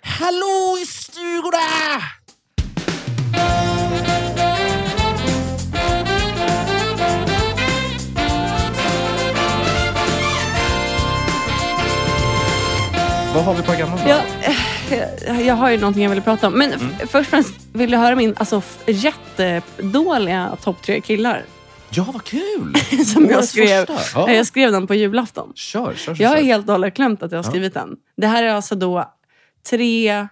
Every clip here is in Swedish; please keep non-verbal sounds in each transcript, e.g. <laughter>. hallå i stugorna! Vad har vi på agendan? Jag, eh, jag har ju någonting jag ville prata om. Men f- Mm. först och främst vill jag höra min alltså, f- jättedåliga topp tre killar. <laughs> Ja, vad kul! Som jag Årets skrev. första. Ja. Eh, Jag skrev den på julafton. <laughs> Kör, kör, kör. Jag är kör. helt och hållet glömt att jag har skrivit den. Det här är alltså då tre...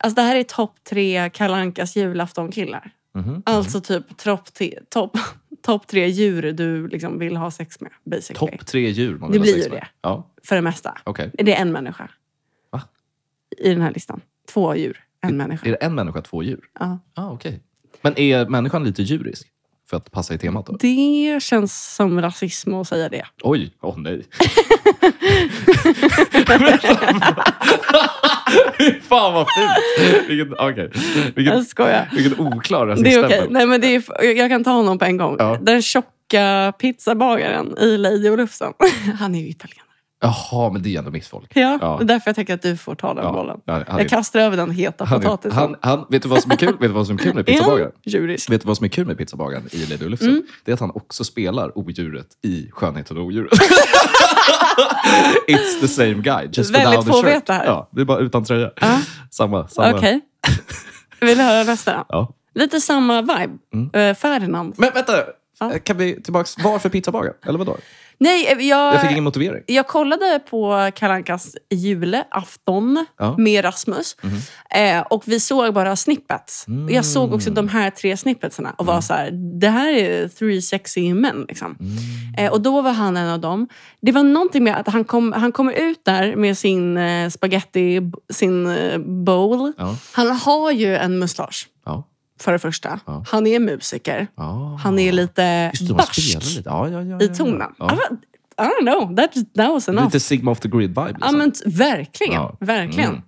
Alltså det här är topp tre Kalle Ankas julaftonkillar. Mhm. Alltså typ topp te- topp- <laughs> topp tre djur du liksom vill ha sex med. Basically. Topp tre djur man vill Det ha blir sex ju med. det. Ja, För det mesta. okej. Det är en människa. Va? I den här listan. Två djur, en människa. Är det en människa, två djur? Ja. Ah, okej. Men är människan lite djurisk? För att passa i temat då? Det känns som rasism att säga det. Oj, åh <laughs> nej. Fan vad fult! Vilken, okay. vilken, Jag skojar. vilken oklar Det är okej. rasiststämpel. Nej, men det är, jag kan ta honom på en gång. Ja. Den tjocka pizzabagaren i Lady och <laughs> Lufsen. Han är ju italienare. Jaha, men det är ändå missfolk. Ja, Ja. Det är därför jag tänker att du får ta den Ja, bollen. ja, han är- jag kastar över den heta Han, är- potatisen. han, han, vet du vad som är kul? Vet du vad som är <laughs> kul med Är han pizzabagaren? jurisk? Vet du vad som är kul med pizzabagaren i Lady Olufsen? Mm. Det är att han också spelar odjuret i Skönheten och <laughs> odjuret. It's the same guy, just Väldigt without få the shirt. vet det här. Ja, det är bara utan tröja. Samma. samma. Okej. <laughs> Vill du höra nästa? Ja. Lite samma vibe. Mm. Eh, Ferdinand. Men vänta! eh, Ja. Kan vi tillbaks? Varför pizzabagaren? Eller vadå? Nej, eh, jag... Jag fick ingen motivering. Jag kollade på Kalankas julafton Ja. Mhm. med Rasmus. Eh, och vi såg bara snippets. Och Jag såg Mm. också de här tre snippetsarna och var så här, det här är three sexy men. Liksom. Mm. Eh, och då var han en av dem. Det var någonting med att han kom, han kommer ut där med sin eh, spaghetti, sin eh, bowl. Ja. Han har ju en mustasch, Ja. för det första. Ja. Han är musiker. Ah. Han är lite Just det, de spelar barsk lite. Ja, ja, ja, i ja, tonen. Alltså, Ja. I, don't know, that, that was enough. Lite Sigma off the grid-vibe. Liksom. Ja, men t- verkligen. Ja. verkligen. Mm.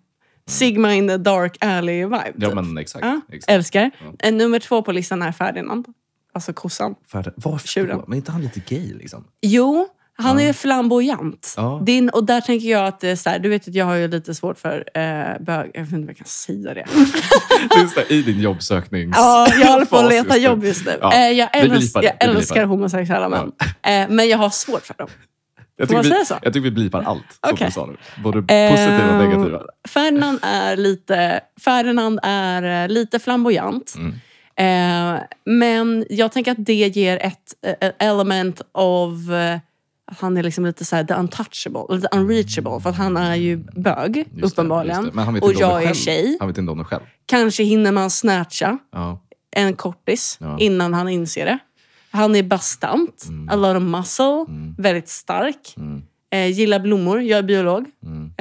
Sigma in the dark alley-vibe. Ja, typ. men exakt. Ja, exakt. Älskar. Eh, Nummer två på listan är Ferdinand. Alltså kossan. För, varför Tjuren. då? Men är inte han lite gay? <laughs> Liksom? Jo, han är flamboyant. Ja. Din, och där tänker jag att det är så här, du vet att jag har ju lite svårt för eh, bög... Jag vet inte om jag kan <laughs> säga det. Just det, I din jobbsöknings... Ja, jag håller på <laughs> att fas leta jobb just nu. Ja, Eh, jag vi älskar, blipar det, jag vi blipar älskar det. homosexuella män. Eh, men jag har svårt för dem. Jag Får tycker, man vi, säga så? jag tycker vi blipar allt som Okej. du sa nu. Både positiva och Ehm, negativa. Ferdinand är lite, Ferdinand är eh, lite flamboyant. Mm. Eh, men jag tänker att det ger ett eh, element av eh, att han är liksom lite så här, the untouchable, lite unreachable. För att han är ju bög, Just det, uppenbarligen. just det. Men han vet och inte om det jag är själv. tjej. Han vet inte om det själv. Kanske hinner man snatcha Ja. en kortis Ja. innan han inser det. Han är bastant, a lot of muscle, väldigt stark. Mm. Eh, gillar blommor, jag är biolog. Mm.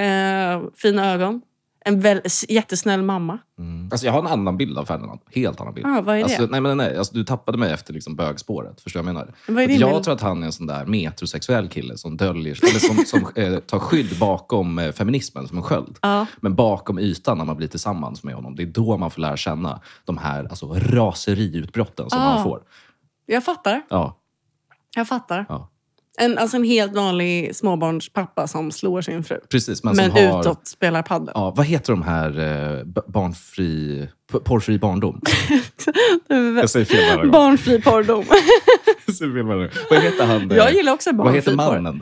Eh, fina ögon. En väl, s- jättesnäll mamma. Mm. Alltså, jag har en annan bild av Ferdinand. Helt annan bild. Ah, vad är det? Alltså, nej, men nej, nej. Alltså, du tappade mig efter liksom, bögspåret. Förstår du vad jag menar? Vad är För din jag bild? tror att han är en sån där metrosexuell kille som döljer eller som, som eh, tar skydd bakom eh, feminismen som en sköld. Ja. Men bakom ytan när man blir tillsammans med honom, det är då man får lära känna de här alltså, raseriutbrotten som Ah. han får. Jag fattar. Ja, Jag fattar. ja. En, alltså en helt vanlig småbarnspappa som slår sin fru. Precis, men, Men som har... utåt spelar padel. Ja, vad heter de här eh, b- barnfri... p- Porrfri <laughs> barndom? Jag säger fel varje gång. <laughs> Barnfri porrdom. Jag säger fel varje gång. Vad heter han? eh, jag gillar också Vad barnfri heter porr. mannen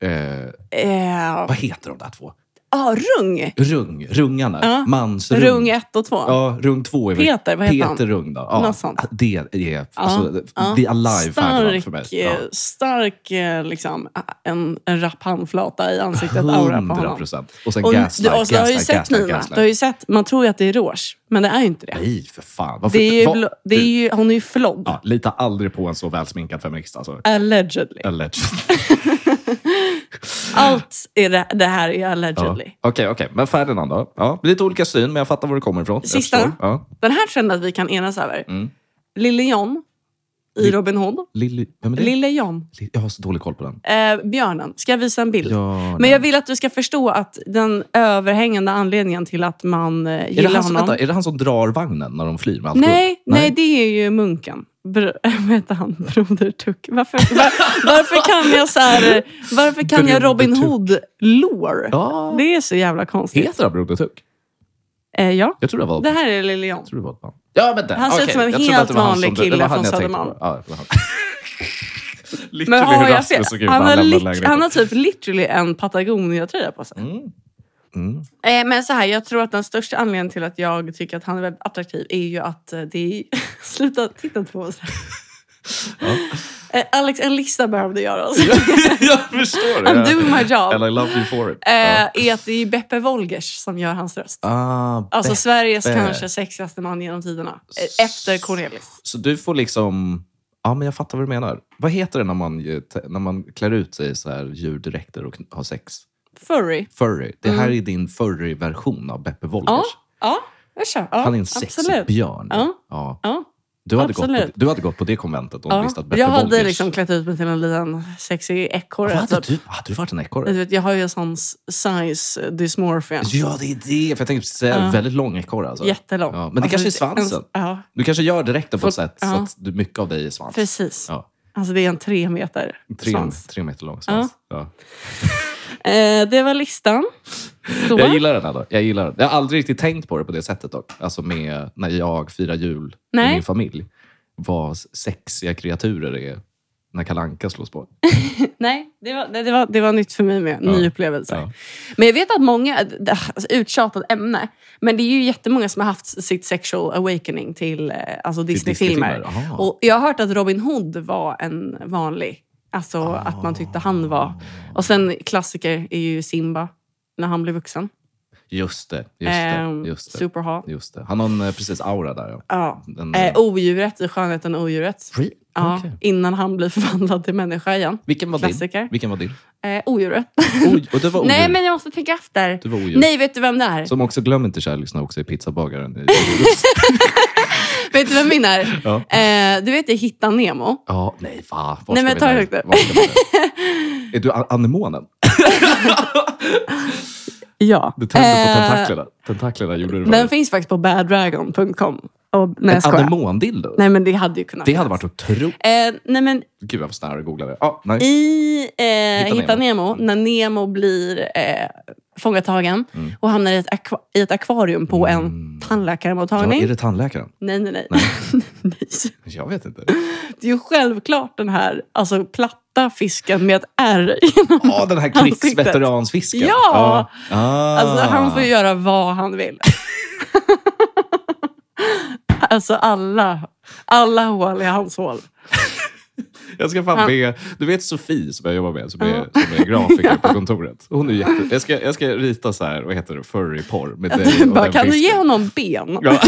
där? Eh, Eh, vad heter de där två? ah, Rung. Rung, Rungarna. Ja. Mansrung. Rung 1 och 2. Ja, Rung 2 är väl- Peter, vad heter han? Peter Rung då. Något sånt. Det är... Alltså, det är alive Ferdinand stark, för mig. eh, Ja. Stark, eh, liksom, en, en rapp handflata i ansiktet. eh, Aura på honom. 100%. Och sen Och, gaslight, du, och så har jag ju gaslight, sett gaslight, Nina. gaslight. Du har ju sett, man tror ju att det är rouge, men det är ju inte det. Nej, för fan. Varför, Det är ju, vad- blå- det är du, ju, hon är ju flodd. ja, lita aldrig på en så välsminkad feminist. Alltså. Allegedly. <laughs> Allegedly. Allt är det, det här är Ja. allegedly. Okej, okej. Men Ferdinand då? Ja, lite olika syn, men jag fattar var du kommer ifrån. Jag Sista. förstår. Ja. Den här kände att vi kan enas över. Mm. Lille John i Li- Robin Hood. Lilly... Vem är det? Lille John. Li- Jag har så dålig koll på den. Eh, björnen. Ska jag visa en bild? Ja, Men jag vill att du ska förstå att den överhängande anledningen till att man eh, är, det gillar han som, honom... vänta, är det han som drar vagnen när de flyr med allt guld? nej, nej, det är ju munken. Br- <laughs> vad heter han? Broder Tuck. Varför, var, varför kan jag så här, eh, Varför kan jag Robin Broder Tuck. Hood-lore? Ja. Det är så jävla konstigt. Heter han Broder Tuck? Eh, ja, Jag tror det var det här är Lille Jan. Jag tror det var ett band. Ja, vänta. Han ser ut Okej, som en jag trodde att det helt var han vanlig som- det var kille han från jag tänkte Södermalm. på. Ja, det <laughs> var han. Men Literally har hur jag fel? Rasmus såg ut när Han har, han lämnade lit- han lägenheten. har typ literally en Patagonia-tröja på sig. Mm. <laughs> Mm. Eh, men så här, jag tror att den största anledningen till att jag tycker att han är väldigt attraktiv är ju att eh, det är... <laughs> Sluta titta på oss. Ja. <laughs> Eh, Alex, en lista behövde göras. jag förstår det. I'm doing my job. And I love you for it. Eh, Ja. är att det är Beppe Wolgers som gör hans röst. Ah, Alltså Beppe. Sveriges kanske sexigaste man genom tiderna. Eh, Efter Cornelis. Så du får liksom... Ja, men jag fattar vad du menar. Vad heter det när man, ju- te- när man klär ut sig i så här djurdräkter och kn- har sex? Furry. Furry. Det här är din furry-version av Beppe Wolgers. Mm. Ja, ja jag kör. Ja, Han är en sexig absolut. björn. Ja. Ja. Ja, Du, hade gått på, Absolut. du hade gått på det konventet om du ja. visste att Beppe Jag hade Wolgers... liksom klätt ut mig till en liten sexig ekorre. Vad hade typ. du? Hade du varit en Du ekorre? vet, jag har ju en sån s- size dysmorphia. Ja, det är det. För jag tänkte säga Ja. väldigt lång ekorre. Alltså. Jättelång. Alltså, Ja, men det kanske är svansen. En, ja, Du kanske gör direkten på Folk- ett sätt så ja. att du, mycket av dig är svans. precis. Ja. Alltså det är en tre meter Tre, svans. tre meter lång svans. Ja. Eh, det var listan. Så. Jag gillar den ändå. Jag, gillar den. jag har aldrig riktigt tänkt på det på det sättet dock. Alltså med när jag firar jul Nej. i min familj. Vad sexiga kreaturer är när kalanka slås <laughs> på. Nej, det var, det, var, det var nytt för mig med. Ny Ja. upplevelse. Ja. Men jag vet att många, alltså, uttjatat ämne, men det är ju jättemånga som har haft sitt sexual awakening till eh, alltså Disney-filmer. Disney-filmer, aha. och jag har hört att Robin Hood var en vanlig, alltså Ah. att man tyckte han var... Och sen klassiker är ju Simba, när han blev vuxen. Just det. Just det, Ehm, just det, Superhot. just det. Han har en eh, precis aura där. Ja. Ja. Den, Eh, odjuret i Skönheten och odjuret. Free? Ja, Mm. Okej. Innan han blir <laughs> förvandlad till människa igen. Vilken var Klassiker. din? Vilken <laughs> var din? Eh, <laughs> odjuret. Oj, och det var Nej, odjur. men jag måste tänka efter. Du var odjur. Nej, vet du vem det är? Som också, glöm inte kära lyssnare, också är pizzabagaren. <laughs> i- Vet du vem min är? <laughs> Ja. Eh, du vet i Hitta Nemo? Ja, nej va? Var Nej, ska men vi ta där? det högt upp. Var ska vi <laughs> där? Är du a- anemonen? Ja. Du tände på Eh, tentaklerna. Tentaklerna gjorde du Den finns faktiskt på baddragon.com. Och, nej, jag En skojar. anemondildo? Nej, men det hade ju kunnat Det hade finnas. varit otroligt. Eh, nej, men Gud, jag var snarare och googlade. Ja, nej. i eh, Hitta, Hitta Nemo. Nemo. när Nemo blir eh, fångatagen Mm. och hamnar i ett, aqua- i ett akvarium på en Mm. Ja, tandläkarmottagning. är det tandläkaren? Nej, nej, <laughs> nej. nej. Jag vet <laughs> inte. Det är ju självklart den här alltså, platta fisken med ett R. Ja, Ah, den här krigsveteransfisken. Ja! Ja. Ah. <laughs> Alltså, han får ju göra vad han vill. <laughs> alltså alla, alla hål är hans hål. Jag ska fan be... Du vet Sofie som jag jobbar med, som är, som är <laughs> grafiker på kontoret. Hon är jätte... jag, ska, jag ska rita så här, vad heter det, furryporr med dig Du och bara, den kan du ge fisken. honom ben? Ja.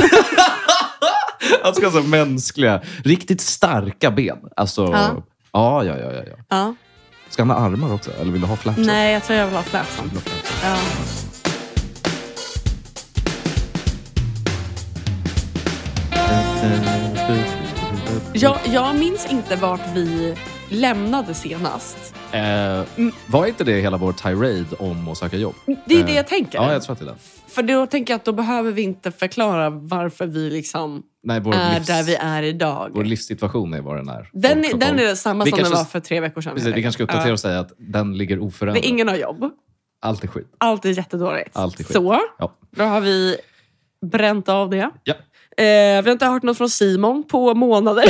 Han ska ha så mänskliga, riktigt starka ben. Alltså, Ja. ja. Ja, ja, ja, ja. Ja. Ska han ha armar också? Eller vill du ha flaps? Nej, jag tror jag vill ha fläsan. Vill du ha flaps? Ja. Jag, jag minns inte vart vi lämnade senast. Eh, var inte det hela vår tirade om att söka jobb? Det är Eh, det jag tänker. Ja, jag tror att det är den. För då tänker jag att då behöver vi inte förklara varför vi liksom Nej, vår, är livs, där vi är idag. vår livssituation är vad den är. Den, är- Och- den är samma Vi som den kanske- var för tre veckor sedan. Precis, vi kanske ska uppdatera och säga att den ligger Ja. oförändrad. Det är ingen har jobb. Allt är skit. Allt är jättedåligt. Allt är skit. Så, Ja. då har vi bränt av det. Ja. Eh, vi har inte hört något från Simon <laughs> på månader.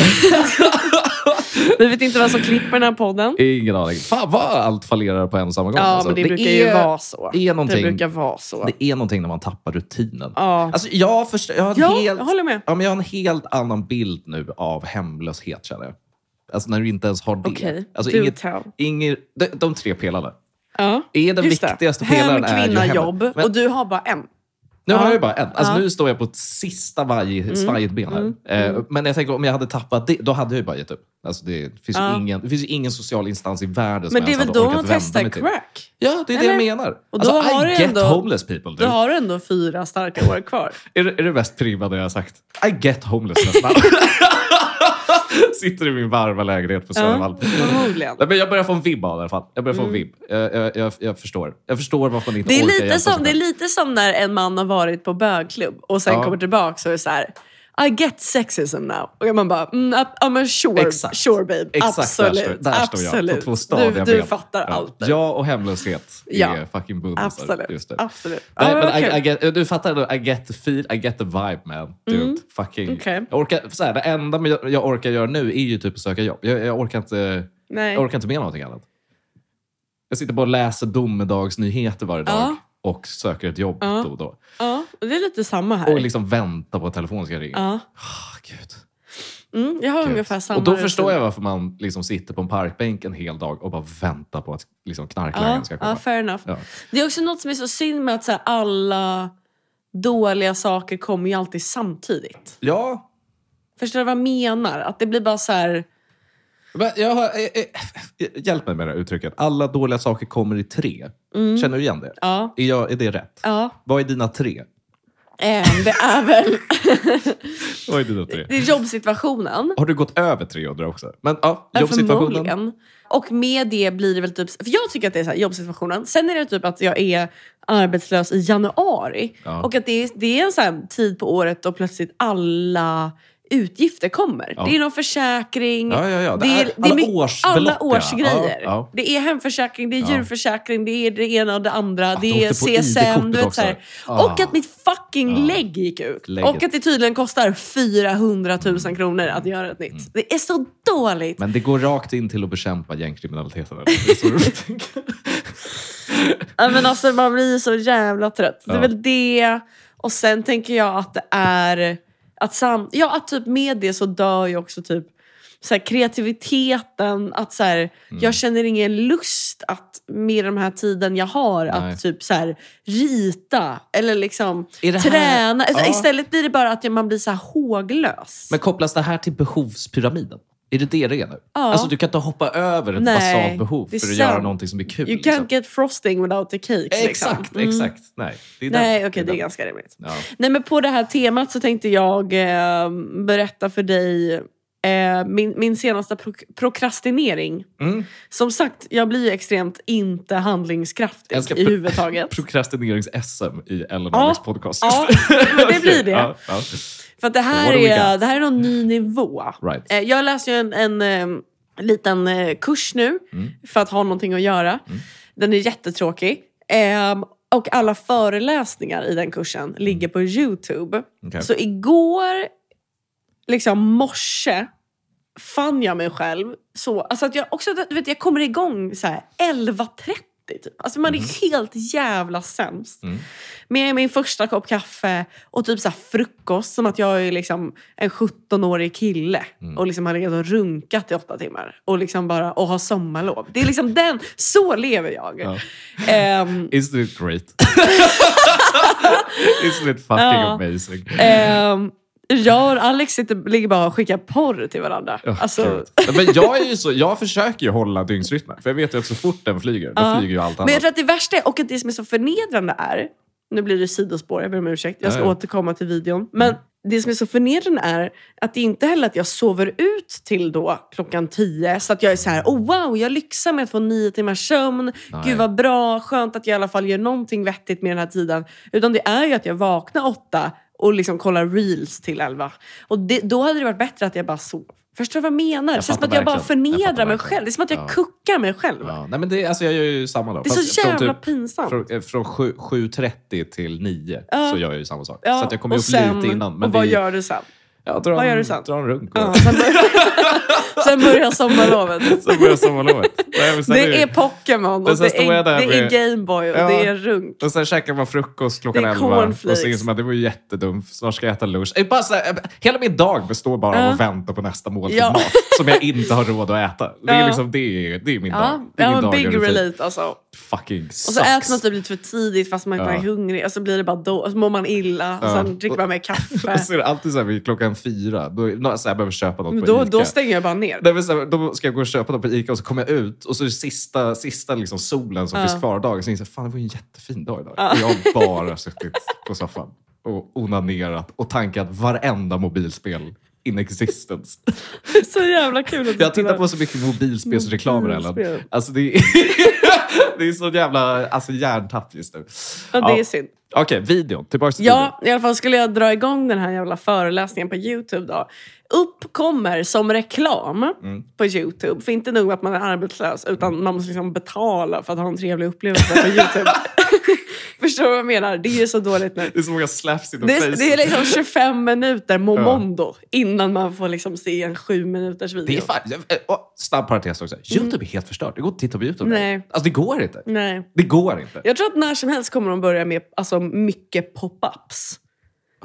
vi vet inte vem som klipper den här podden. Ingen aning. Fan vad allt fallerar på en och samma gång. Ja, alltså. men det, brukar ju är, vara så. är någonting- Det brukar vara så. det är någonting när man tappar rutinen. Ja. Alltså, jag, förstår, jag, har en Ja, helt, jag håller med. Ja, men jag har en helt annan bild nu av hemlöshet känner jag. Alltså när du inte ens har det. Okej, alltså, do inget, tell. inget, de, de tre pelarna. Ja. Är den Just det. viktigaste Hem, pelaren är ju kvinna, hemmet. jobb. Men Och du har bara en. Nu Ja. har jag ju bara en. Alltså, Ja. Mm. Nu står jag på ett sista vaj, svajigt ben här. Eh, Men jag tänker om jag hade tappat det, då hade jag ju bara gett upp. Alltså, det, finns Ja. ju ingen, det finns ju ingen social instans i världen som Men jag det är ens väl hade då orkat man vända testar mig till. crack? Ja, det är det Eller? jag menar. Och då alltså, har I du get ändå- homeless people. Då Dude. har du ändå fyra starka år kvar. Är, det, är det mest privade jag har sagt? I get homeless nästan. <laughs> Sitter i min varma lägenhet på Södermalm. Ja, förmodligen. Nej, men jag börjar få en vibb av det i alla fall. Jag börjar få en vibb. Jag, jag, jag, jag förstår. Jag förstår varför man inte Det är, orkar lite hjälpa sig som, det är själv. lite som när en man har varit på bögklubb och sen Ja. kommer tillbaka och är så här... I get sexism now. Och man bara, mm, ab- ja men sure, Exakt. sure babe. Exakt där står- absolut. där står jag. absolut. På två stadiga du, du ben. fattar ja. allt. babe. Ja, och hemlöshet är Ja. fucking bundisar. absolut. Just det. absolut. Nej, Ja, men okej. I, I get, du fattar, ändå, I get the feel, I get the vibe man. Dude. Fucking. Mm. Okej. Jag orkar, så här, det enda jag, jag orkar göra nu är ju typ att söka jobb. Jag, jag, orkar inte, Nej. jag orkar inte med någonting annat. Jag sitter bara och läser domedagsnyheter varje dag Ja. och söker ett jobb då och då. Ja, och det är lite samma här. Och liksom väntar på att telefonen ska ringa. Ja. Ah, Gud. Mm, jag har ungefär samma. Och då rutin. förstår jag varför man liksom sitter på en parkbänk en hel dag och bara väntar på att liksom knarklangaren ja, ska ja, komma. fair enough. Ja. Det är också något som är så synd med att så här, alla dåliga saker kommer ju alltid samtidigt. ja. Förstår du vad jag menar? Att det blir bara så här... Men jag har, eh, eh, eh, hjälp mig med det här uttrycket. Alla dåliga saker kommer i tre. Mm. Känner du igen det? Ja. Är, jag, är det rätt? ja. Vad är dina tre? Eh, det är väl... Vad är dina tre? <laughs> det är jobbsituationen. Har du gått över tre undrar jag också? Men ja, Ja, jobbsituationen. förmodligen. Och med det blir det väl typ... För jag tycker att det är så här, jobbsituationen. Sen är det typ att jag är arbetslös i januari. Ja. Och att det är, det är en så här tid på året då plötsligt alla utgifter kommer. Ja. Det är någon försäkring. Ja, ja, ja. Det är det alla mycket- årsbelopp, Alla ja. årsgrejer. Ja, ja. Det är hemförsäkring, det är Ja. djurförsäkring, det är det ena och det andra. Att de det är åkte på ID-kortet CSN. Du vet, också. så här. Ah. Och att mitt fucking Ja. lägg gick ut. Lägget. Och att det tydligen kostar 400 000 kronor att göra ett nytt. Mm. Det är så dåligt. Men det går rakt in till att bekämpa <laughs> gängkriminaliteten. eller? Det är så du tänker. Ja, men alltså, man blir så jävla trött. Det är Ja. väl det. Och sen tänker jag att det är... Att sam- ja, att typ med det så dör ju också typ så här, kreativiteten. Att så här, Mm. Jag känner ingen lust att med den här tiden jag har Nej. att typ så här, rita eller liksom Är det här- träna. Alltså, Ja. Istället blir det bara att man blir så här håglös. Men kopplas det här till behovspyramiden? Är det det det är nu? Ja. Alltså, du kan inte hoppa över ett Nej, basalt behov det är för att göra sant. någonting som är kul. you can't liksom. get frosting without the cake. liksom. Exakt, Mm. exakt. Nej, det är den. Nej, okej, det är den. ganska rimligt. Ja. Nej, men på det här temat så tänkte jag eh, berätta för dig eh, min, min senaste prok- prokrastinering. Mm. Som sagt, jag blir ju extremt inte handlingskraftig Jag ska i pro- huvud taget. Prokrastinerings-SM i Ellen Ja. Ahlers podcast. <laughs> Ja, <laughs> men det blir det. Ja, ja. För att det här, What do we är, got? det här är någon ny nivå. Right. Eh, jag läser ju en, en eh, liten eh, kurs nu Mm. för att ha någonting att göra. Den är jättetråkig. Ehm, och alla föreläsningar i den kursen ligger på Youtube. Okej. Så igår, liksom morse, fann jag mig själv så... Alltså att jag, också, du vet, jag kommer igång så här 11.30. Typ. Alltså man är helt jävla sämst. Mhm. Mm. Med min första kopp kaffe och typ så här frukost. Som att jag är liksom en 17-årig kille Mm. och liksom har legat och runkat i åtta timmar. Och liksom bara och har sommarlov. Det är liksom den... Så lever jag. Ja. Ehm, Isn't it great? <laughs> Isn't it fucking Ja. amazing? ehm, jag och Alex sitter, ligger bara och skickar porr till varandra. Ja, alltså, gud. Men jag, är ju så, jag försöker ju hålla dygnsrytmen, för jag vet ju att så fort den flyger, då Ja. flyger ju allt Men jag annat. tror att det värsta är, och att det som är så förnedrande är, nu blir det sidospår, jag ber om ursäkt, jag ska Ja, ja. återkomma till videon. Men det som är så förnedrande är att det är inte heller att jag sover ut till då klockan tio så att jag är så här, oh wow, jag lyxar med att få nio timmars sömn. Nej. Gud vad bra, skönt att jag i alla fall gör någonting vettigt med den här tiden. Utan det är ju att jag vaknar åtta och liksom kollar reels till elva. Och det, då hade det varit bättre att jag bara sov. Förstår du vad jag menar? det känns som fattar att jag bara verkligen. Jag förnedrar fattar mig verkligen. själv. Det är som att jag Ja. kuckar mig själv. Ja, nej men det, alltså jag gör ju samma då. Det är så från jävla typ- pinsamt. Från, eh, från sju- 7.30 till 9 Ja. så gör jag ju samma sak. Ja, så att jag kommer och upp sen- lite innan. Men och vad det, är- gör du sen? jag drar vad en, gör du sen? Drar en runk. Ja, och- <laughs> sen, börjar, <laughs> sen börjar sommarlovet. Sen börjar sommarlovet. Nej, men sen Det är Pokémon, Men och sen det står är, jag där det är med- Gameboy och Ja. det är runk. Och sen käkar man frukost klockan Det är 11 och cornflakes. så inser man det var ju jättedumt. Snart ska jag äta lunch. Det är Bara så här, eh, hela min dag består bara av Ja. att vänta på nästa måltid Ja. mat som jag inte har råd att äta. Det Ja. är, liksom, det är, det är min Ja, dag. Det är ja min men dag i big rutin. relate alltså. Fucking sucks. Och så äter man typ lite för tidigt fast man inte Ja. är hungrig. Och så blir det bara då, och så mår man illa. Och Ja. sen dricker man mer kaffe. Och så är det alltid så här vid klockan fyra, då, nå- så här, jag behöver köpa något <laughs> Men på då, Ica. då stänger jag <laughs> bara ner. Nej, men så här, då ska jag gå och köpa något på Ica och så kommer jag ut och så är det sista, sista liksom solen som Ja. finns kvar av dagen. Så inser jag fan det var ju en jättefin dag idag. Och Jag har bara suttit på soffan och onanerat och tankat varenda mobilspel in <laughs> existence. Så jävla kul. att Jag har tittat sitta på så mycket mobilspelsreklamer Ellen. Mobilspel. Alltså det är... <laughs> Det är så jävla alltså, hjärntapp just nu. Och det är synd. Okej, videon. Tillbaka till Ja, i alla fall skulle jag dra igång den här jävla föreläsningen på Youtube då. Upp kommer som reklam Mm. på Youtube. För inte nog att man är arbetslös utan man måste liksom betala för att ha en trevlig <laughs> upplevelse på <laughs> Youtube. Förstår du vad jag menar? Det är ju så dåligt nu. Det är så många slaps inom Det är, Facebook. det är liksom 25 minuter momondo innan man får liksom se en sju minuters video. Det är fan, jag- eh, åh, snabb parentes också. Youtube är helt förstört. Det går inte att titta på Youtube. Mm. Nej. Alltså det går inte. Nej. Det går inte. Jag tror att när som helst kommer de börja med alltså, mycket pop-ups.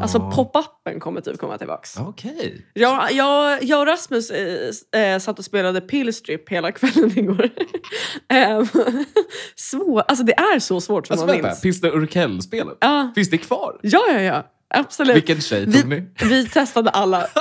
Alltså Ja. pop-upen kommer typ komma tillbaks. Okej. Jag, jag, jag och Rasmus eh, s- eh, satt och spelade pillstrip hela kvällen <laughs> igår. Ehm, Svår, alltså det är så svårt som Alltså man vänta, minns. finns det Urkel-spelet? Ja. Finns det kvar? Ja, ja, ja. Absolut. Vilken tjej tog vi, ni? vi testade alla. <laughs>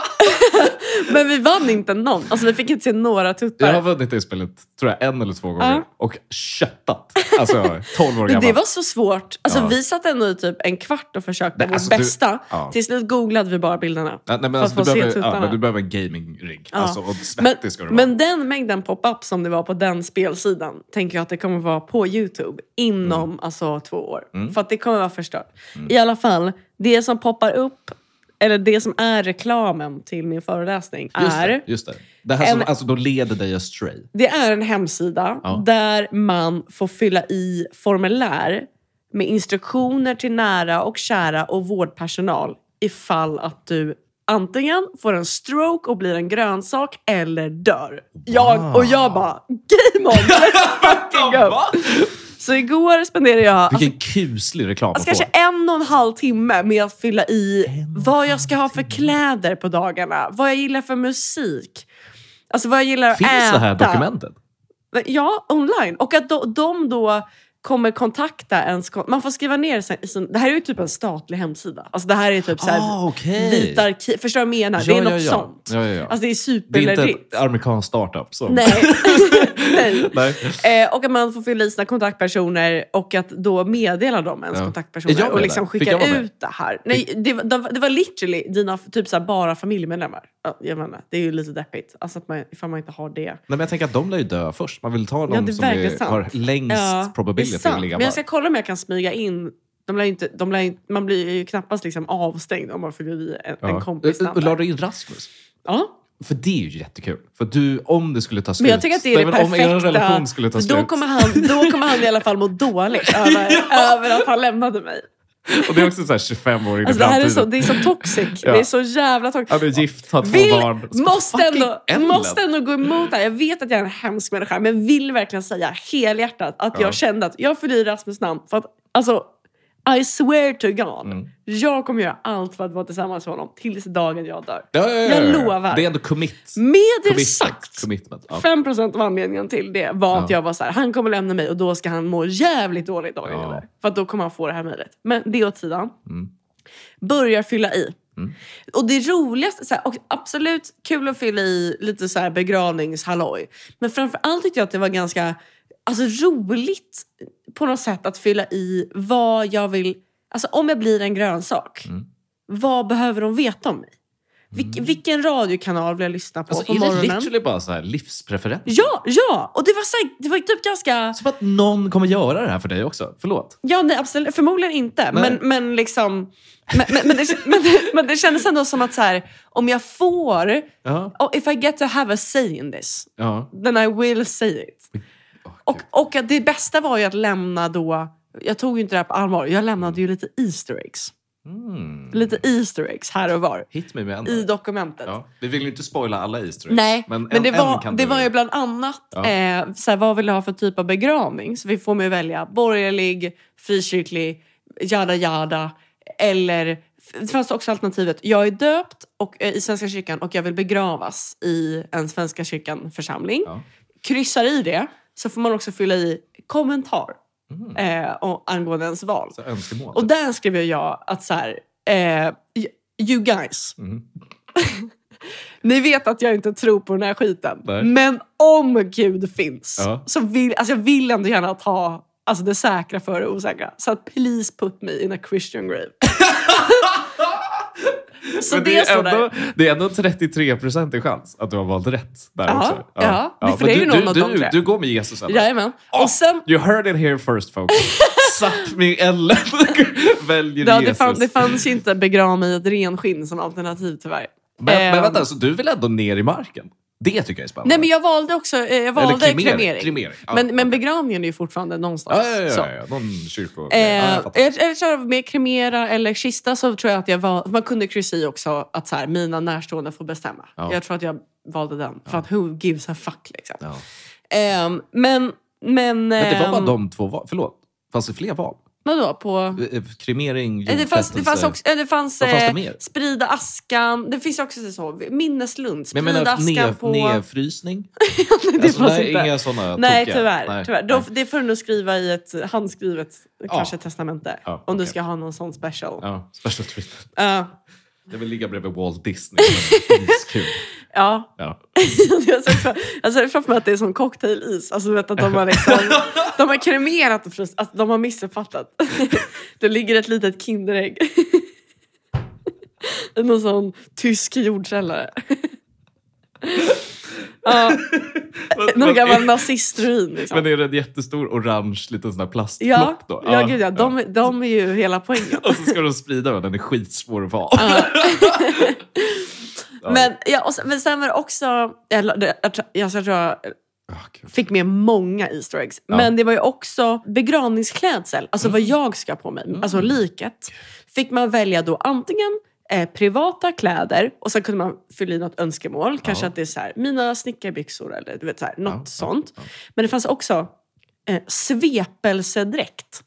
<laughs> Men vi vann inte någon. Alltså vi fick inte se några tuttar. Jag har vunnit det spelet tror jag en eller två gånger Ja. och köttat. Alltså 12 år Men gammal. det var så svårt. Alltså, Ja. Vi satt ändå i typ en kvart och försökte Nej, vårt alltså, du- bästa. ja. Till slut googlade vi bara bilderna. Ja, nej, men för alltså, att du, få se behöver, ja, tuttarna. men du behöver en gaming-rigg. Ja. Alltså, och svettig Men, ska du vara. men den mängden pop-up som det var på den spelsidan tänker jag att det kommer vara på Youtube inom Mm. alltså, två år. För att det kommer vara förstört. I alla fall, det som poppar upp, eller det som är reklamen till min föreläsning just är... det, just det. det här som en- alltså, då leder dig astray. Det är en hemsida Ja. där man får fylla i formulär med instruktioner till nära och kära och vårdpersonal ifall att du antingen får en stroke och blir en grönsak eller dör. Jag, och jag bara, game <laughs> on! Let's fucking go! Va? Så igår spenderade jag alltså, Vilken kuslig reklam att få. kanske en och en halv timme med att fylla i vad jag ska ha för kläder på dagarna, vad jag gillar för musik, alltså vad jag gillar att Finns äta. det här dokumentet? Ja, online. Och att de, de då kommer kontakta ens... kon- Man får skriva ner sin, sin, Det här är ju typ en statlig hemsida. Alltså det här är typ så här Ah, okej. vita arkiv. Förstår du vad jag menar? det är något sånt. Ja, ja, ja. Alltså det är det är inte superledigt. ett amerikanskt startup. Som... <laughs> Nej. Nej. Nej. Eh, och att man får fylla i sina kontaktpersoner och att då meddela dem ens Ja. kontaktpersoner Är jag med och där? liksom Fick jag skicka vara med? ut det här. Nej, det, var- de- det var literally dina typ så här, bara familjemedlemmar. Ja, Jag menar, det är ju lite deppigt. Alltså att man, ifall man inte har det. Nej, men jag tänker att de lär ju dö först. Man vill ta någon Ja, det är som är, verkligen sant. har längst det är probability sant. att ligga Men jag kvar. ska kolla om jag kan smyga in. De lär ju inte, de lär ju, man blir ju knappast liksom avstängd om man fyller i en, en kompis Och- och La namn. du in Rasmus? Ja, För det är ju jättekul. För du, om det skulle ta slut... men jag tycker att det är Nej, det men Om er perfekta. relation skulle ta för då, slut. kommer han, då kommer han i alla fall <laughs> må dåligt över, över att han lämnade mig. Och det är också så här 25 år in i Alltså, det, här är framtiden. så, det är så toxic. Ja. Det är så jävla Han är toxic. gift, har två Vill, barn. Så måste, fucking ändå, Ellen. måste ändå gå emot det här. Jag vet att jag är en hemsk människa, men vill verkligen säga helhjärtat att Ja. jag kände att jag fyller i Rasmus namn. För att, alltså, I swear to God, Mm. jag kommer göra allt för att vara tillsammans med honom tills dagen jag dör. Ja, ja, ja, Jag ja. lovar. Det är ändå commit. Med det Commitment. sagt, Commitment. Ja. 5% av anledningen till det var att Ja. jag var så här, han kommer lämna mig och då ska han må jävligt dåligt dagen Ja. Mm. efter. För att då kommer han få det här mejlet. Men det åt sidan. Börjar fylla i. Och det roligaste, så här, och absolut kul att fylla i lite så här begravningshalloj. Men framförallt tyckte jag att det var ganska alltså, roligt på något sätt att fylla i vad jag vill, alltså om jag blir en grönsak, Mm. vad behöver de veta om mig? Vilk, Vilken radiokanal vill jag lyssna på Alltså, på är det morgonen? literally bara så här livspreferens? Ja, ja! Och det var, så här, det var typ ganska... Som att någon kommer göra det här för dig också. Förlåt. Ja, nej, absolut. Förmodligen inte. Nej. Men, men liksom... Men, men, men, det, men, men det kändes ändå som att så här, om jag får... Ja. Oh, if I get to have a say in this, ja. then I will say it. Åh, Och, gud. och att det bästa var ju att lämna då... Jag tog ju inte det här på allvar. Jag lämnade ju lite Easter eggs. Mm. Lite Easter eggs här och var Hit mig med en. i dokumentet. Mm. Ja. Vi vill ju inte spoila alla Easter eggs. Nej, men, en- det, en var, kan det du- var ju bland annat Ja. eh, så här, vad vill jag ha för typ av begravning. Så vi får mig välja borgerlig, frikyrklig, jada jada. Eller, det fanns också alternativet, jag är döpt och, eh, i Svenska kyrkan och jag vill begravas i en Svenska kyrkan församling. Ja. Kryssar i det så får man också fylla i kommentar Mm. eh, och, angående ens val. Så önskemål. typ. Och där skrev ju jag att så här, eh, you guys, Mm. Ni vet att jag inte tror på den här skiten. Nej. Men om Gud finns Ja. så vill alltså jag vill ändå gärna ta alltså det <laughs> säkra före det osäkra. Så att please put me in a Christian grave. Så Men det, det, är står där. ändå, det är ändå 33 procent i chans att du har valt rätt. Där Ja, också. ja. För Men det är ju du, någon du, av de du, tre. du går med Jesus eller? Jajamän. Och sen, You heard it here first <laughs> folks. Sapp mig Ellen <laughs> väljer ja, det, Jesus. fann, det fanns ju inte begra mig i ett renskinn som alternativ tyvärr. Men, men Ehm, vänta, så du vill ändå ner i marken? Det tycker jag är spännande. Nej, men jag valde också eh, jag Eller valde kremering. kremering. Ja, Men, men okej. begravningen är ju fortfarande någonstans. ja, ja, så. ja, ja, ja. Någon kyrko... Eh, ja, jag fattar. jag, jag kör med kremera eller kista så tror jag att jag val, man kunde kryssa i också att så här, mina närstående får bestämma. Ja. Jag tror att jag valde den. För att who gives a fuck liksom. Ja. Ehm, men, Men men... det var bara ehm, de två val. Förlåt, fanns det fler val? Vadå? På... Eh, Kremering, Eh, Det fanns, det fanns jordfästelse. också... eh, Det fanns, Vad fanns det eh, mer? sprida askan. Det finns ju också så, minneslund. Men Sprida jag menar, askan ned, på... <laughs> nedfrysning? det Alltså, fanns nej, inte. inga sådana Nej, tokiga. tyvärr. Nej, tyvärr. nej. Då, det får du nog skriva i ett handskrivet kanske testamente. Ja, om du okej. ska ha någon sån special. Eh, Ja. Ja, special treatment. Ja. Jag vill ligga bredvid Walt Disney. <laughs> men det är kul. ja. Ja. <laughs> jag ser fram- jag ser framför mig att det är som cocktailis. Alltså, du vet, att de har, liksom, <laughs> de har kremerat och frust, alltså, de har missuppfattat. <laughs> det ligger ett litet Kinderägg. <laughs> I någon sån tysk jordkällare. ja, någon gammal nazistruin. Liksom. <laughs> Men är det en jättestor orange liten sån här Ja, plastplopp då? ja, gud ja. De, de är ju hela poängen. <laughs> Och så ska de sprida den, den är skitsvår att vara. <laughs> Ja. Men, ja, och sen, men sen var det också... Jag, la- det- jag, tror- jag, tror jag Ah, gud. fick med många Easter eggs. Ja. Mm. Men det var ju också begravningsklädsel, alltså vad jag ska på mig, alltså liket. Fick man välja då antingen eh, privata kläder och sen kunde man fylla i något önskemål. Kanske Ja. att det är så här, mina snickarbyxor eller du vet, så här, något Ja, ja, sånt. ja. Men det fanns också eh, svepelsedräkt.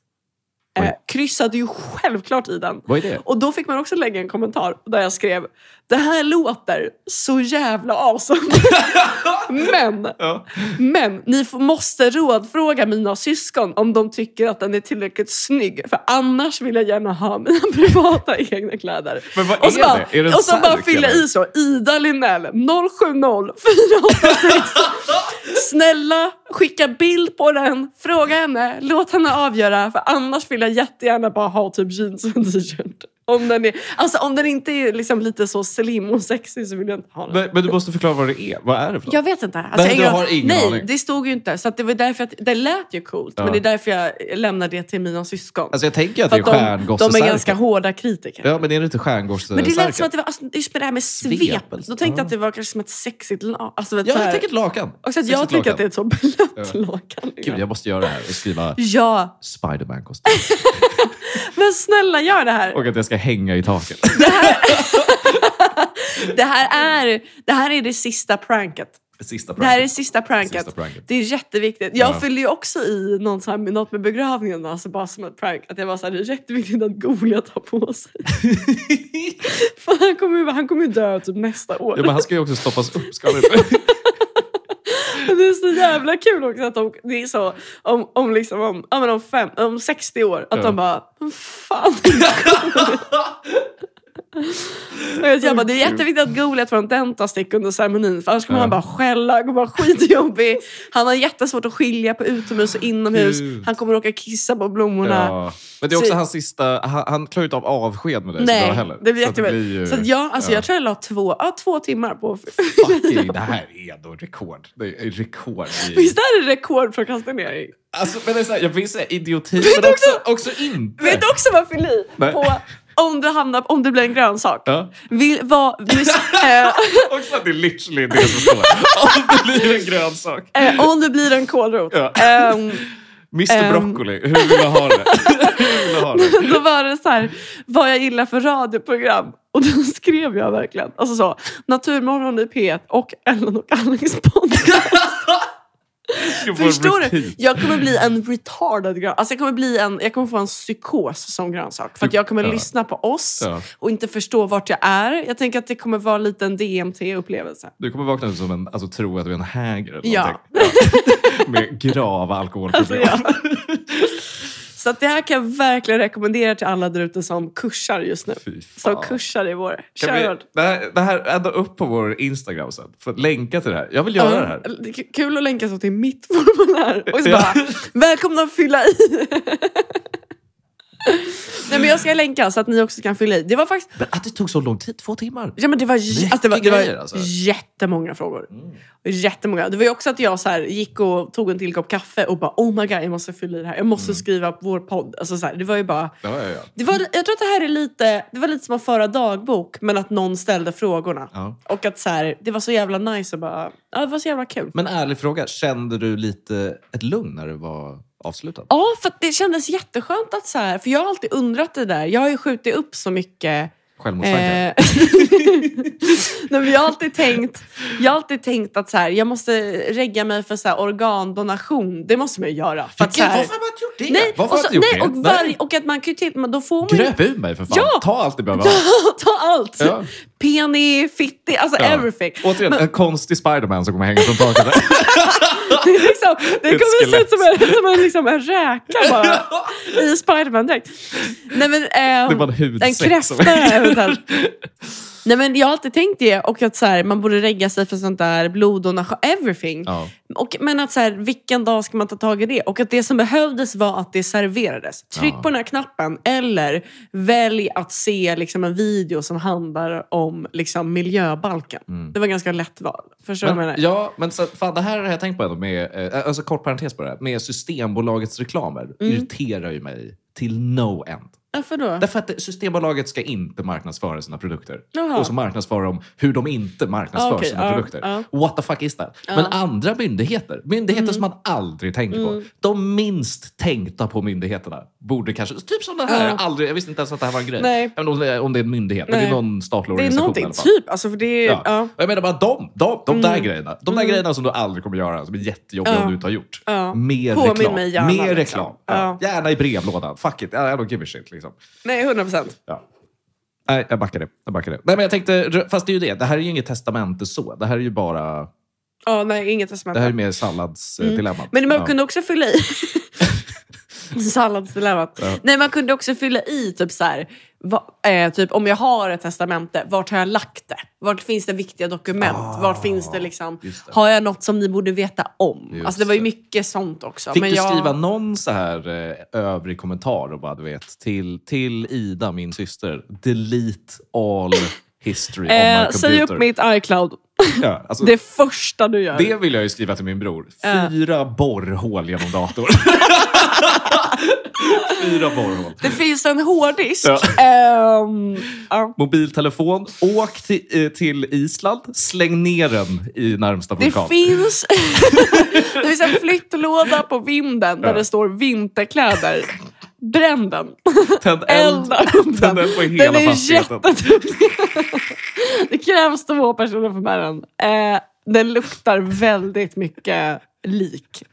Eh, Oj. kryssade ju självklart i den. Vad är det? Och då fick man också lägga en kommentar där jag skrev Det här låter så <laughs> jävla awesome. men, Ja. men ni f- måste rådfråga mina syskon om de tycker att den är tillräckligt snygg. För annars vill jag gärna ha mina <laughs> privata egna kläder. Men vad Och så, är bara, det? Är det en och så bara särk, fylla eller? i så. Ida Linnell <laughs> 070486. Snälla, skicka bild på den. Fråga henne. Låt henne avgöra. För annars vill jag jättegärna bara ha typ jeans och en t-shirt. Om den, är, alltså, om den inte är liksom lite så slim och sexig så vill jag inte ha den. Men, men du måste förklara vad det är. Vad är det för något? Jag vet inte. Nej, Alltså, jag du ingen- har ingen nej, aning. det stod ju inte. Så att det var därför att det lät ju coolt. Ja. Men det är därför jag lämnade det till mina syskon. Alltså jag tänker att För det är att de, stjärngossesärken. de är ganska hårda kritiker. Ja, men är det inte stjärngossesärken? Men det lät som att det var, alltså, just med det här med svep. Då Svepels- tänkte jag ja. att det var kanske som ett sexigt la- alltså, vet, Ja, så här- jag tänker ett lakan. Också att jag Sexigt tycker lakan. att det är ett så blött Ja. lakan. liksom. Gud, jag måste göra det här och skriva Ja, Spiderman-kostym. men snälla gör det här. Och att jag ska hänga i <laughs> taket. Det här är det, här är det sista pranket. Sista Det här är det sista pranket. Sista pranket. Det är jätteviktigt. Jag Ja. fyllde ju också i någon så här, något med begravningen, alltså bara som ett prank. Att jag var så här, det är jätteviktigt att Goliat har <laughs> på sig. För han kommer ju han kommer ju dö typ nästa år. Ja, men han ska ju också stoppas upp. Ska han <laughs> inte? Men Det är så jävla kul också att de, det är så, om, om, liksom, om, ja, men om, fem, om 60 år, att Ja. de bara, "Men fan. <laughs> Och jag jag bara, det är jätteviktigt att Goliat får en dentastick under ceremonin, för annars kommer Ja. han bara skälla, han kommer vara skitjobbig. Han har jättesvårt att skilja på utomhus och inomhus. Gud. Han kommer råka kissa på blommorna. Ja. Men det är också Så- hans sista... Han, han klarar ju inte av avsked med dig så bra Nej, heller. det blir Så att jättebra. ju- Så att jag, alltså, ja. jag tror jag la två, ja, två timmar på... Fucking, det här är ändå rekord. Det är rekord. i- Visst är det rekordprokrastinering? Alltså, men det är så här, jag vill säga idioti, men också, också inte. Vet du också vad fyll i Nej. på om du, hamnar, om du blir en grönsak? Ja. Vill, <laughs> vad, mus- eh, Också att det är literally det som står. Om det blir en grön sak. eh, om du blir en kålrot. Ja. Ehm, <laughs> Mr Ehm. Broccoli, hur vill du ha det? <laughs> Hur vill du ha det? då var det så här, vad jag gillar för radioprogram. Och då skrev jag verkligen, alltså så, Naturmorgon i P1 och Ellen och Alex <laughs> podd. Ska få en Förstår du? repeat. Jag kommer bli en retarded grönsak. Alltså jag, kommer bli en, jag kommer få en psykos som grönsak. För att jag kommer Ja. lyssna på oss Ja. och inte förstå vart jag är. Jag tänker att det kommer vara lite en DMT-upplevelse. Du kommer vakna upp som en, alltså tro att du är en häger eller Ja. någonting. Ja. Med grava alkoholproblem. Alltså, Så att det här kan jag verkligen rekommendera till alla där ute som kursar just nu. Fy Som fan. kursar i vår. Kan vi, Kör hårt. det, här, det här, ändå upp på vår Instagram sen. För att länka till det här. Jag vill göra det här. Ja, det är k- Kul att länka <laughs> så till mitt formulär. Och så Ja. <laughs> bara, välkomna att fylla i. Nej, men jag ska länka så att ni också kan fylla i. Det var faktiskt Men att det tog så lång tid, två timmar. Ja, men det var, j- Mycket alltså, det var, det var grejer, alltså. Mm. jättemånga frågor. Jättemånga. Det var ju också att jag så här, gick och tog en till kopp kaffe och bara oh my god, jag måste fylla i det här. Jag Mm. måste skriva vår podd. Alltså, så här, det var ju bara... Ja, ja, ja. Det var, jag tror att det här är lite, det var lite som att föra dagbok, men att någon ställde frågorna. Ja. Och att så här, det var så jävla nice och bara, ja, det var så jävla kul. Men ärlig fråga, kände du lite ett lugn när det var avslutat? Ja, för att det kändes jätteskönt att så här, för jag har alltid undrat det där. Jag har ju skjutit upp så mycket Självmordstankar? Eh, <laughs> Nej, men jag har alltid tänkt, jag har alltid tänkt att så här, jag måste regga mig för så här, organdonation. Det måste man ju göra. För att, så Vilken- här, Varför har man inte gjort det? nej, varför och, har så, du inte nej, gjort och, det? varje, och att man kan ju till, men då får man ju Gröp ur mig för fan. Ja! Ta allt du behöver. ha. ta, <laughs> ta allt. Ja. Penny, fitti, alltså Ja. <laughs> everything. Återigen, en konstig Spiderman som kommer hänga från taket. Det, är liksom, det Ett kommer se ut skelett. som en, som en, liksom en <laughs> räka bara i Spiderman-dräkt. Nej, men, ehm, Det var en En hudsäck. som- kräfta eventuellt. Nej, men jag har alltid tänkt det och att så här, man borde regga sig för sånt där bloddonation, everything. <laughs> Ja. Och, men att så här, vilken dag ska man ta tag i det? Och att det som behövdes var att det serverades. Tryck Ja. på den här knappen eller välj att se liksom, en video som handlar om liksom, miljöbalken. Det var ganska lätt val. Förstår du vad jag Mm. Men, menar? ja, men så, fan, det här har jag tänkt på ändå med, eh, alltså kort parentes bara, med Systembolagets reklamer Mm. irriterar ju mig till no end. Varför då? Därför att det- Systembolaget ska inte marknadsföra sina produkter. Jaha. Och så marknadsför de hur de inte marknadsför Ah, Mm. okej. sina Ja, produkter. ja. What the fuck is that? Men andra myndigheter, myndigheter som man aldrig tänker Mm. på, de minst tänkta på myndigheterna borde kanske, typ som det här, Ja. aldrig, jag visste inte ens att det här var en grej. Ah. Nej. Även om det är- om det är en myndighet, men Nej. det är någon statlig det är organisation i någonting, alla fall. typ. Alltså, för det är, Ja. ja. Ja. Jag menar bara de, de, de där grejerna. De där grejerna som du aldrig kommer göra, som är jättejobbiga Ja. om du inte har gjort. Ja. Mer Påminn reklam. mig gärna, Mer liksom. reklam. Ja. Gärna i brevlådan. Fuck it, I don't give a shit. Liksom. Nej, 100 procent. Ja. Nej, jag backar det. Jag backar det. Nej, men jag tänkte, fast det är ju det. Det här är ju inget testamente så. Det här är ju bara... Ja, nej, inget Det här är testament. mer salladsdilemmat. Mm. Men man ja. kunde också fylla i... <laughs> Salladsdilemmat. Ja. Nej, man kunde också fylla i typ så här, va, eh, typ om jag har ett testamente, vart har jag lagt det? Vart finns det viktiga dokument? vart finns det liksom, Ah, just det. har jag något som ni borde veta om? Just alltså det var ju det. mycket sånt också. Fick men du jag, skriva någon så här eh, övrig kommentar och bara, du vet, till, till Ida, min syster, delete all history on my eh, computer. Säg upp mitt iCloud. Ja, alltså, Det första du gör. Det vill jag ju skriva till min bror. Fyra borrhål genom <laughs> datorn. Fyra borrhål. Det finns en hårddisk. Ja. Ehm, ja. Mobiltelefon. Åk till, eh, till Island. Släng ner den i närmsta Det vulkan. <laughs> finns, det finns en flyttlåda på vinden där Ja. det står vinterkläder. Bränn den. Tänd eld. Elda upp <laughs> den. Tänd eld på hela Den är fastigheten. jättetung. <laughs> Det krävs två personer för att bära den. Eh, den luktar väldigt mycket lik.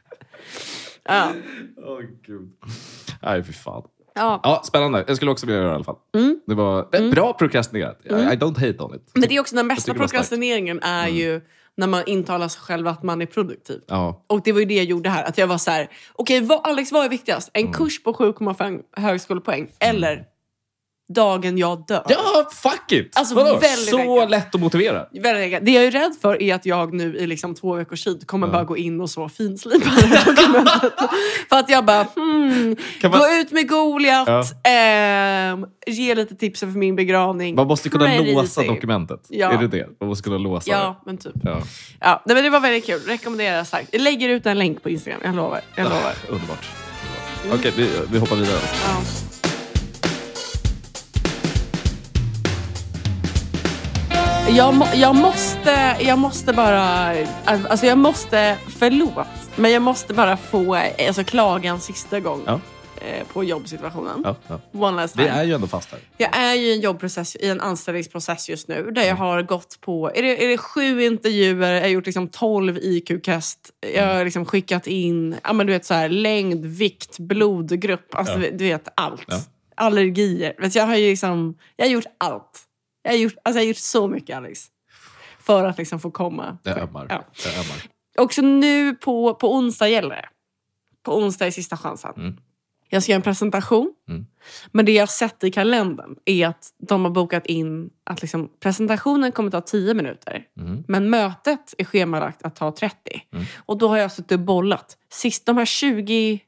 Ja. Åh, Gud. Nej, fy fan. Ja. Ja, spännande. Jag skulle också vilja göra det i alla fall. Mm. Det var det är bra prokrastinerat. I, I don't hate on it. Men det Mm. är också den bästa tycker det var starkt. prokrastineringen är ju när man intalar sig själv att man är produktiv. Ja. Och det var ju det jag gjorde här. Att jag var så här, okej vad, Alex vad är viktigast? Mm. En kurs på 7,5 högskolepoäng eller dagen jag dör? ja, fuck it! Alltså, Vadå? väldigt Så enkelt. lätt att motivera. Väldigt enkelt. Det jag är rädd för är att jag nu i liksom två veckors tid kommer bara gå in och så finslipa det här <laughs> dokumentet. för att jag bara, hmm, Kan man- gå ut med Goliat, ehm, ge lite tips för min begravning. Man måste kunna Pretty låsa easy. dokumentet. Ja. Är det det? Man måste kunna låsa Ja, men typ. det. Ja. Ja, nej, men det var väldigt kul. Rekommenderar starkt. Jag lägger ut en länk på Instagram, jag lovar. Jag lovar. Underbart. Underbart. Okej, vi, vi hoppar vidare. Ja. Jag, må, jag, måste, jag måste bara... Alltså jag måste... Förlåt, men jag måste bara få eh, alltså, klaga en sista gång Ja. eh, på jobbsituationen. Ja, ja. One last Vi time. är ju ändå fast här. Jag är ju i en jobbprocess, i en anställningsprocess just nu där jag Mm. har gått på är det, är det sju intervjuer, jag har gjort liksom 12 IQ-kast. Jag Mm. har liksom skickat in ja, men du vet, så här, längd, vikt, blodgrupp, alltså, du vet allt. Ja. Allergier. Vet, du, jag, har ju liksom, jag har gjort allt. Jag har gjort, alltså, jag har gjort så mycket Alex. För att liksom få komma. Jag ömmar. Ja. Jag ömmar. Också nu på, på onsdag gäller det. På onsdag är sista chansen. Mm. Jag ska göra en presentation. Mm. Men det jag har sett i kalendern är att de har bokat in att liksom, presentationen kommer ta 10 minuter. Mm. Men mötet är schemalagt att ta 30. Och då har jag suttit och bollat. Sist, de här 20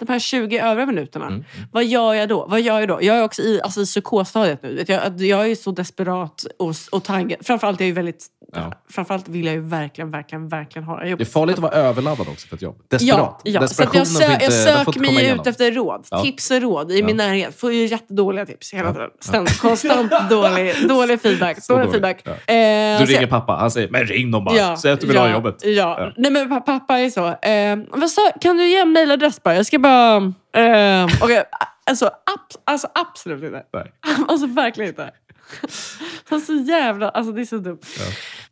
de här 20 övriga minuterna. Mm. Mm-hmm. Vad gör jag då? Vad gör jag då? Jag är också i, alltså, i psykosstadiet nu. Vet Jag, jag är så desperat och, och taggad. Framförallt, är jag ju väldigt, Ja. framförallt vill jag ju verkligen, verkligen, verkligen ha det. Det är farligt att vara överladdad också för ett jobb. Ja, Desperat. ja. Så att Desperationen jag, får sö- inte- den jag får söker inte komma mig igenom. ut efter råd. Ja. Tips och råd i min närhet. Får ju jättedåliga tips hela tiden. Ständigt, <laughs> konstant dålig, dålig feedback. Så Dålig dålig, feedback. ja. Eh, Du så jag- ringer pappa. Han säger, men ring dem bara. Säg att du vill ja, ha jobbet. Ja. Ja. Nej, men pa- pappa är så. Eh, vad sa, kan du ge en mejladress bara? Jag ska <laughs> bara... Eh, okay. alltså, abs- alltså absolut inte. Nej. <laughs> Alltså verkligen inte. <laughs> Han är så jävla... Alltså det är så dumt.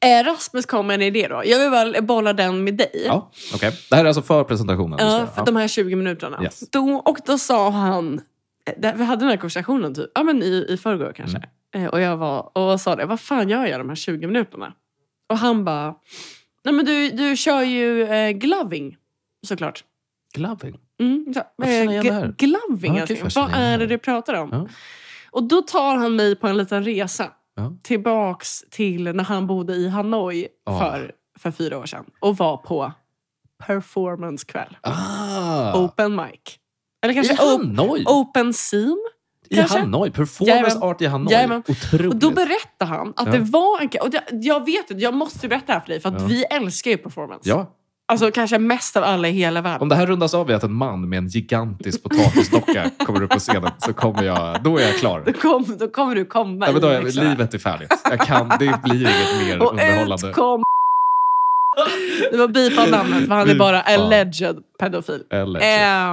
Eh, Rasmus kom med en idé då. Jag vill väl bolla den med dig. Ja, okej. Det här är alltså för presentationen. du ska Ja, göra. för de här 20 minuterna. Yes. Då, och då sa han, där, vi hade den här konversationen typ, ja, men i, i förrgår kanske. Mm. Eh, Och jag var, och sa det, vad fan gör jag de här 20 minuterna? Och han bara, nej men du, du kör ju eh, gloving såklart. Gloving. Mm, så, Varför känner jag gl- det här? gloving, Ja, älskling. gud, vad vad känner jag är det det här? du pratar om? Ja. Och då tar han mig på en liten resa Ja. tillbaks till när han bodde i Hanoi Ah. för, för fyra år sedan och var på performancekväll. Ah! Open mic. Eller I kanske op- Hanoi! open scene. I kanske? Hanoi! Performance Jajamän. art i Hanoi. Jajamän. Otroligt. Och då berättar han att Ja. det var en... Och jag, jag vet inte, jag måste ju berätta det här för dig för att Ja. vi älskar ju performance. ja. Alltså kanske mest av alla i hela världen. Om det här rundas av i att en man med en gigantisk potatisdocka kommer upp på scenen så kommer jag... Då är jag klar. Då, kom, då kommer du komma Nej, men då är, liksom. livet är färdigt. Jag kan, det blir inget mer Och underhållande. ut kom... Det var bipa namnet för han är Fy bara fan. alleged pedofil. Eller,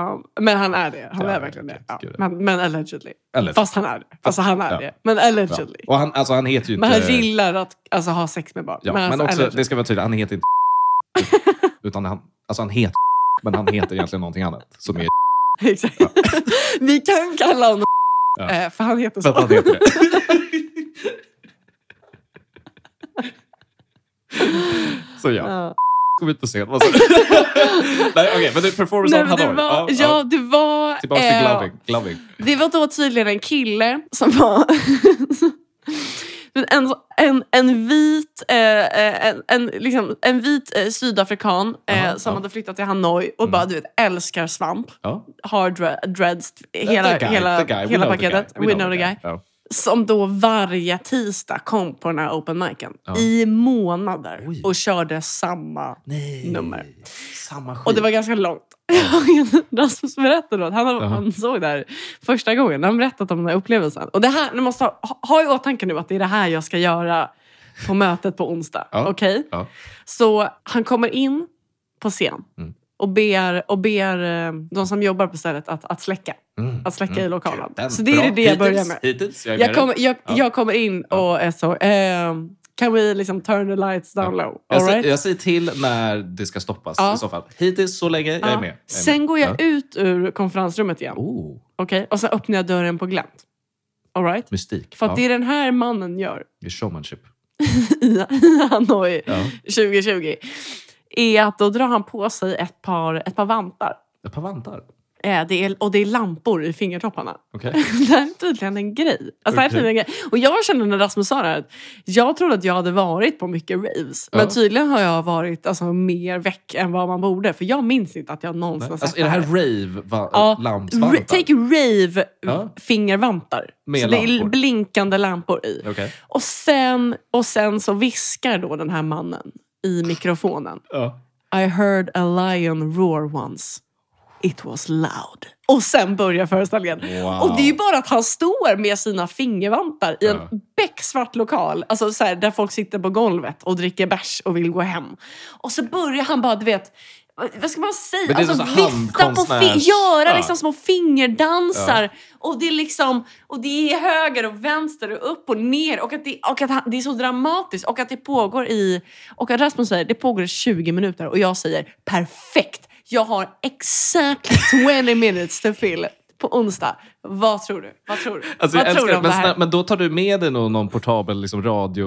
Eh, men han är det. Han Ja, är verkligen det. okej, Ja. gud, ja. Men, men allegedly. eller Fast han är det. Alltså han är Ja. det. Men allegedly. Ja. Och han, alltså, han heter ju Men inte... han gillar att alltså, ha sex med barn. ja, alltså, men också, allegedly. det ska vara tydligt, han <laughs> heter inte utan han, alltså han heter men han heter egentligen någonting annat. Som Alltså- är <laughs> Exakt. Vi kan kalla honom Ja. <laughs> eh, för han för heter så. att han heter det. <laughs> Så ja, Ja. kom ut på scen. Vad <laughs> sa du? Nej, okej, men det performance Nej, on men det Hanoi. var, ja, Ja, ja. det var... Tillbaka till eh, gloving. gloving. Det var då tydligen en kille som var... <laughs> Men en, en, en vit, eh, eh, en, en, liksom, en vit eh, sydafrikan eh, Aha, som ja. Mm. hade flyttat till Hanoi och bara du vet, älskar svamp. Ja. Har dre- dreads, hela, The guy, hela, the guy. We hela know the guy. paketet. We know the guy. Ja. som då varje tisdag kom på den här open micen Ja. i månader Oj. och körde samma. Nej. Nummer. Samma skit. Och det var ganska långt. <laughs> Rasmus berättade att han, han såg det här första gången. Han berättat om den här upplevelsen. Och det här, du måste ha, ha- ha i åtanke nu att det är det här jag ska göra på mötet på onsdag. Ja. Okej? Ja. Så han kommer in på scen Mm. och ber, och ber eh, de som jobbar på stället att, att släcka. Mm. Att släcka i lokalen. Den- Så det är bra. det jag börjar Hittills- med. Hittills, jag är Jag med kommer, jag, Ja. jag kommer in Ja. och är så... ehm, can we liksom turn the lights down low? Jag, All säger, right? jag säger till när det ska stoppas Ja. i så fall. Hittills så länge, jag Ja. är med. Jag är med. Sen går jag Ja. ut ur konferensrummet igen. Oh, Okej? Och sen öppnar jag dörren på glänt. All right? mystik. För att ja. det är den här mannen gör <laughs> det är showmanship. i i Hanoi Ja. 2020 är att då drar han på sig ett par, ett par vantar. Ett par vantar. Eh, Det är, och det är lampor i fingertopparna. <laughs> Okej. Det här är tydligen en grej. Alltså, det här Okej. är tydligen en grej. Och jag kände när Rasmus sa det här, att jag trodde att jag hade varit på mycket raves. Men Ja. tydligen har jag varit alltså, mer väck än vad man borde. För jag minns inte att jag någonsin har sett Alltså, är det här rave va- Ja. lampsvantar? Ra- Take rave Ja. fingervantar. Med så det är lampor. blinkande lampor i. Okej. Och, sen, och sen så viskar då den här mannen i mikrofonen. Ja. I heard a lion roar once. It was loud. Och sen börjar föreställningen. Wow. Och det är ju bara att han står med sina fingervantar i en Ja. becksvart lokal. Alltså så här, där folk sitter på golvet och dricker bärs och vill gå hem. Och så börjar han bara, du vet, vad ska man säga? Men det är alltså, som så på fi- handkonstnärs- göra Ja. liksom små fingerdansar. Och det är liksom, och det är höger och vänster och upp och ner. Och att det, och att han, det är så dramatiskt. Och att det pågår i, och att Rasmus säger, det pågår i 20 minuter. Och jag säger, perfekt! Jag har exakt 20 minutes to fill på onsdag. Vad tror du? Vad tror du? Alltså, jag Vad tror älskar du det. om det Men, här? snälla, men då tar du med dig någon, någon portabel liksom,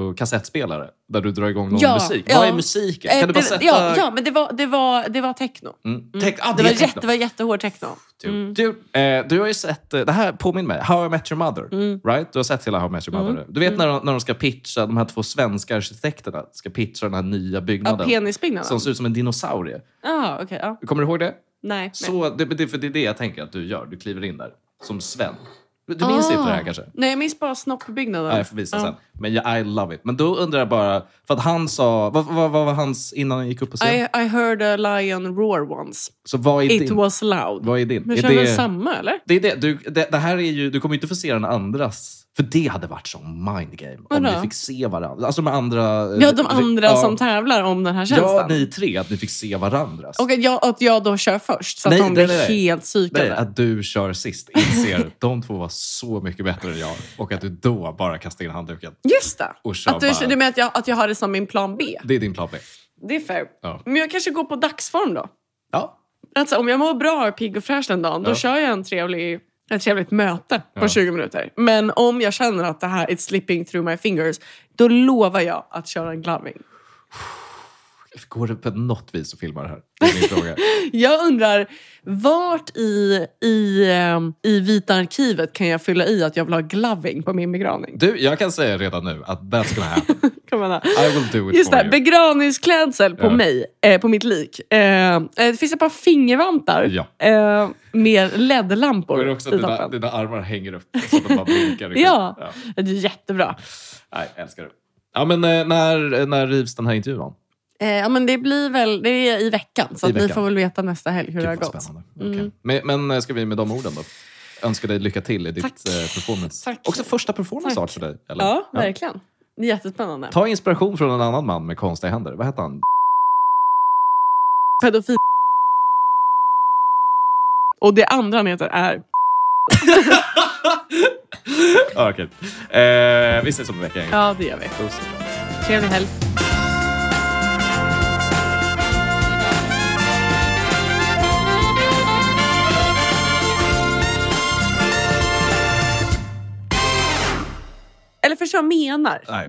radiokassettspelare där du drar igång någon Ja, musik. ja. Vad är musiken? Kan Eh, du bara det- sätta... ja, ja, men det var, det var, det var techno. Mm. Tänk- ah, Det var, är techno. jätte, Mm. det var jättehård techno. Du, du, eh, du har ju sett, eh, det här påminner mig, How I Met Your Mother. Mm. Right? Du har sett hela How I Met Your Mother. nu. Du vet när, de, när de ska pitcha, de här två svenska arkitekterna ska pitcha den här nya Ja, byggnaden penisbyggnaden. som ser ut som en dinosaurie. Ah, okay, ja. Kommer du ihåg det? Nej. Så, det, det, för det är det jag tänker att du gör. Du kliver in där som Sven. Du Ah. minns inte det här kanske? Nej, jag minns bara snoppbyggnaden. Ja, jag får visa sen. Men jag- I love it. Men då undrar jag bara, för att han sa... Vad, vad, vad var hans innan han gick upp på scen? I, I heard a lion roar once. så vad är It din? was loud. Vad är din? Men Är känner det- samma eller? Det är det. Du, det, det här är ju, du kommer ju inte få se den andras. För det hade varit som mind game om Vadå? ni fick se varandra. Alltså de andra... Ja, de andra som tävlar om den här tjänsten. Ja, ni tre. Att ni fick se varandras. Och att jag, att jag då kör först, så att Nej, de nej, blir nej, nej. helt Nej, alltså- psykade. att du kör sist. Inser de två var så mycket bättre än jag. Och att du då bara kastar in handduken. Just det! Och kör Att du, bara. du menar att jag, att jag har det som min plan B? Det är din plan B. Det är fair. Ja. Men jag kanske går på dagsform då. Ja. Alltså, om jag mår bra och pigg och fräsch den dagen, Ja. då kör jag en trevlig, ett trevligt möte på Ja. 20 minuter. Men om jag känner att det här är slipping through my fingers, då lovar jag att köra en gloving. Går det på något vis att filma det här? Det är min fråga. Jag undrar, vart i, i, ehm, i Vita arkivet kan jag fylla i att jag vill ha gloving på min begravning? Du, jag kan säga redan nu att that's gonna happen. Kan man ha? I will do it Just for det, you. begravningsklädsel på Ja. mig, eh, på mitt lik. Eh, eh, det finns ett par fingervantar Ja. eh, med Och är LED-lampor det i också att dina, toppen. dina armar hänger upp så att de bara blinkar. i skyn. <laughs> Ja. Det är jättebra. Nej, jag älskar det. Ja, men eh, när, när rivs den här intervjun? om? Eh, ja, men det blir väl det är i veckan, så I att ni veckan. får väl veta nästa helg hur det Mm. har Gud, vad gått. spännande. Okej. Men, men eh, ska vi med de orden då? Önska dig lycka till i ditt Tack. eh, performance. Tack. Också första performance Tack. art för dig. Eller? Ja, verkligen. Det är jättespännande. Ta inspiration från en annan man med konstiga händer. Vad hette han? <laughs> Pedofil. Och det andra han heter är... ah, okej. eh, vi ses om en vecka. igen. Ja, det gör vi. Puss och kram. Trevlig helg. Eller förstår vad jag menar.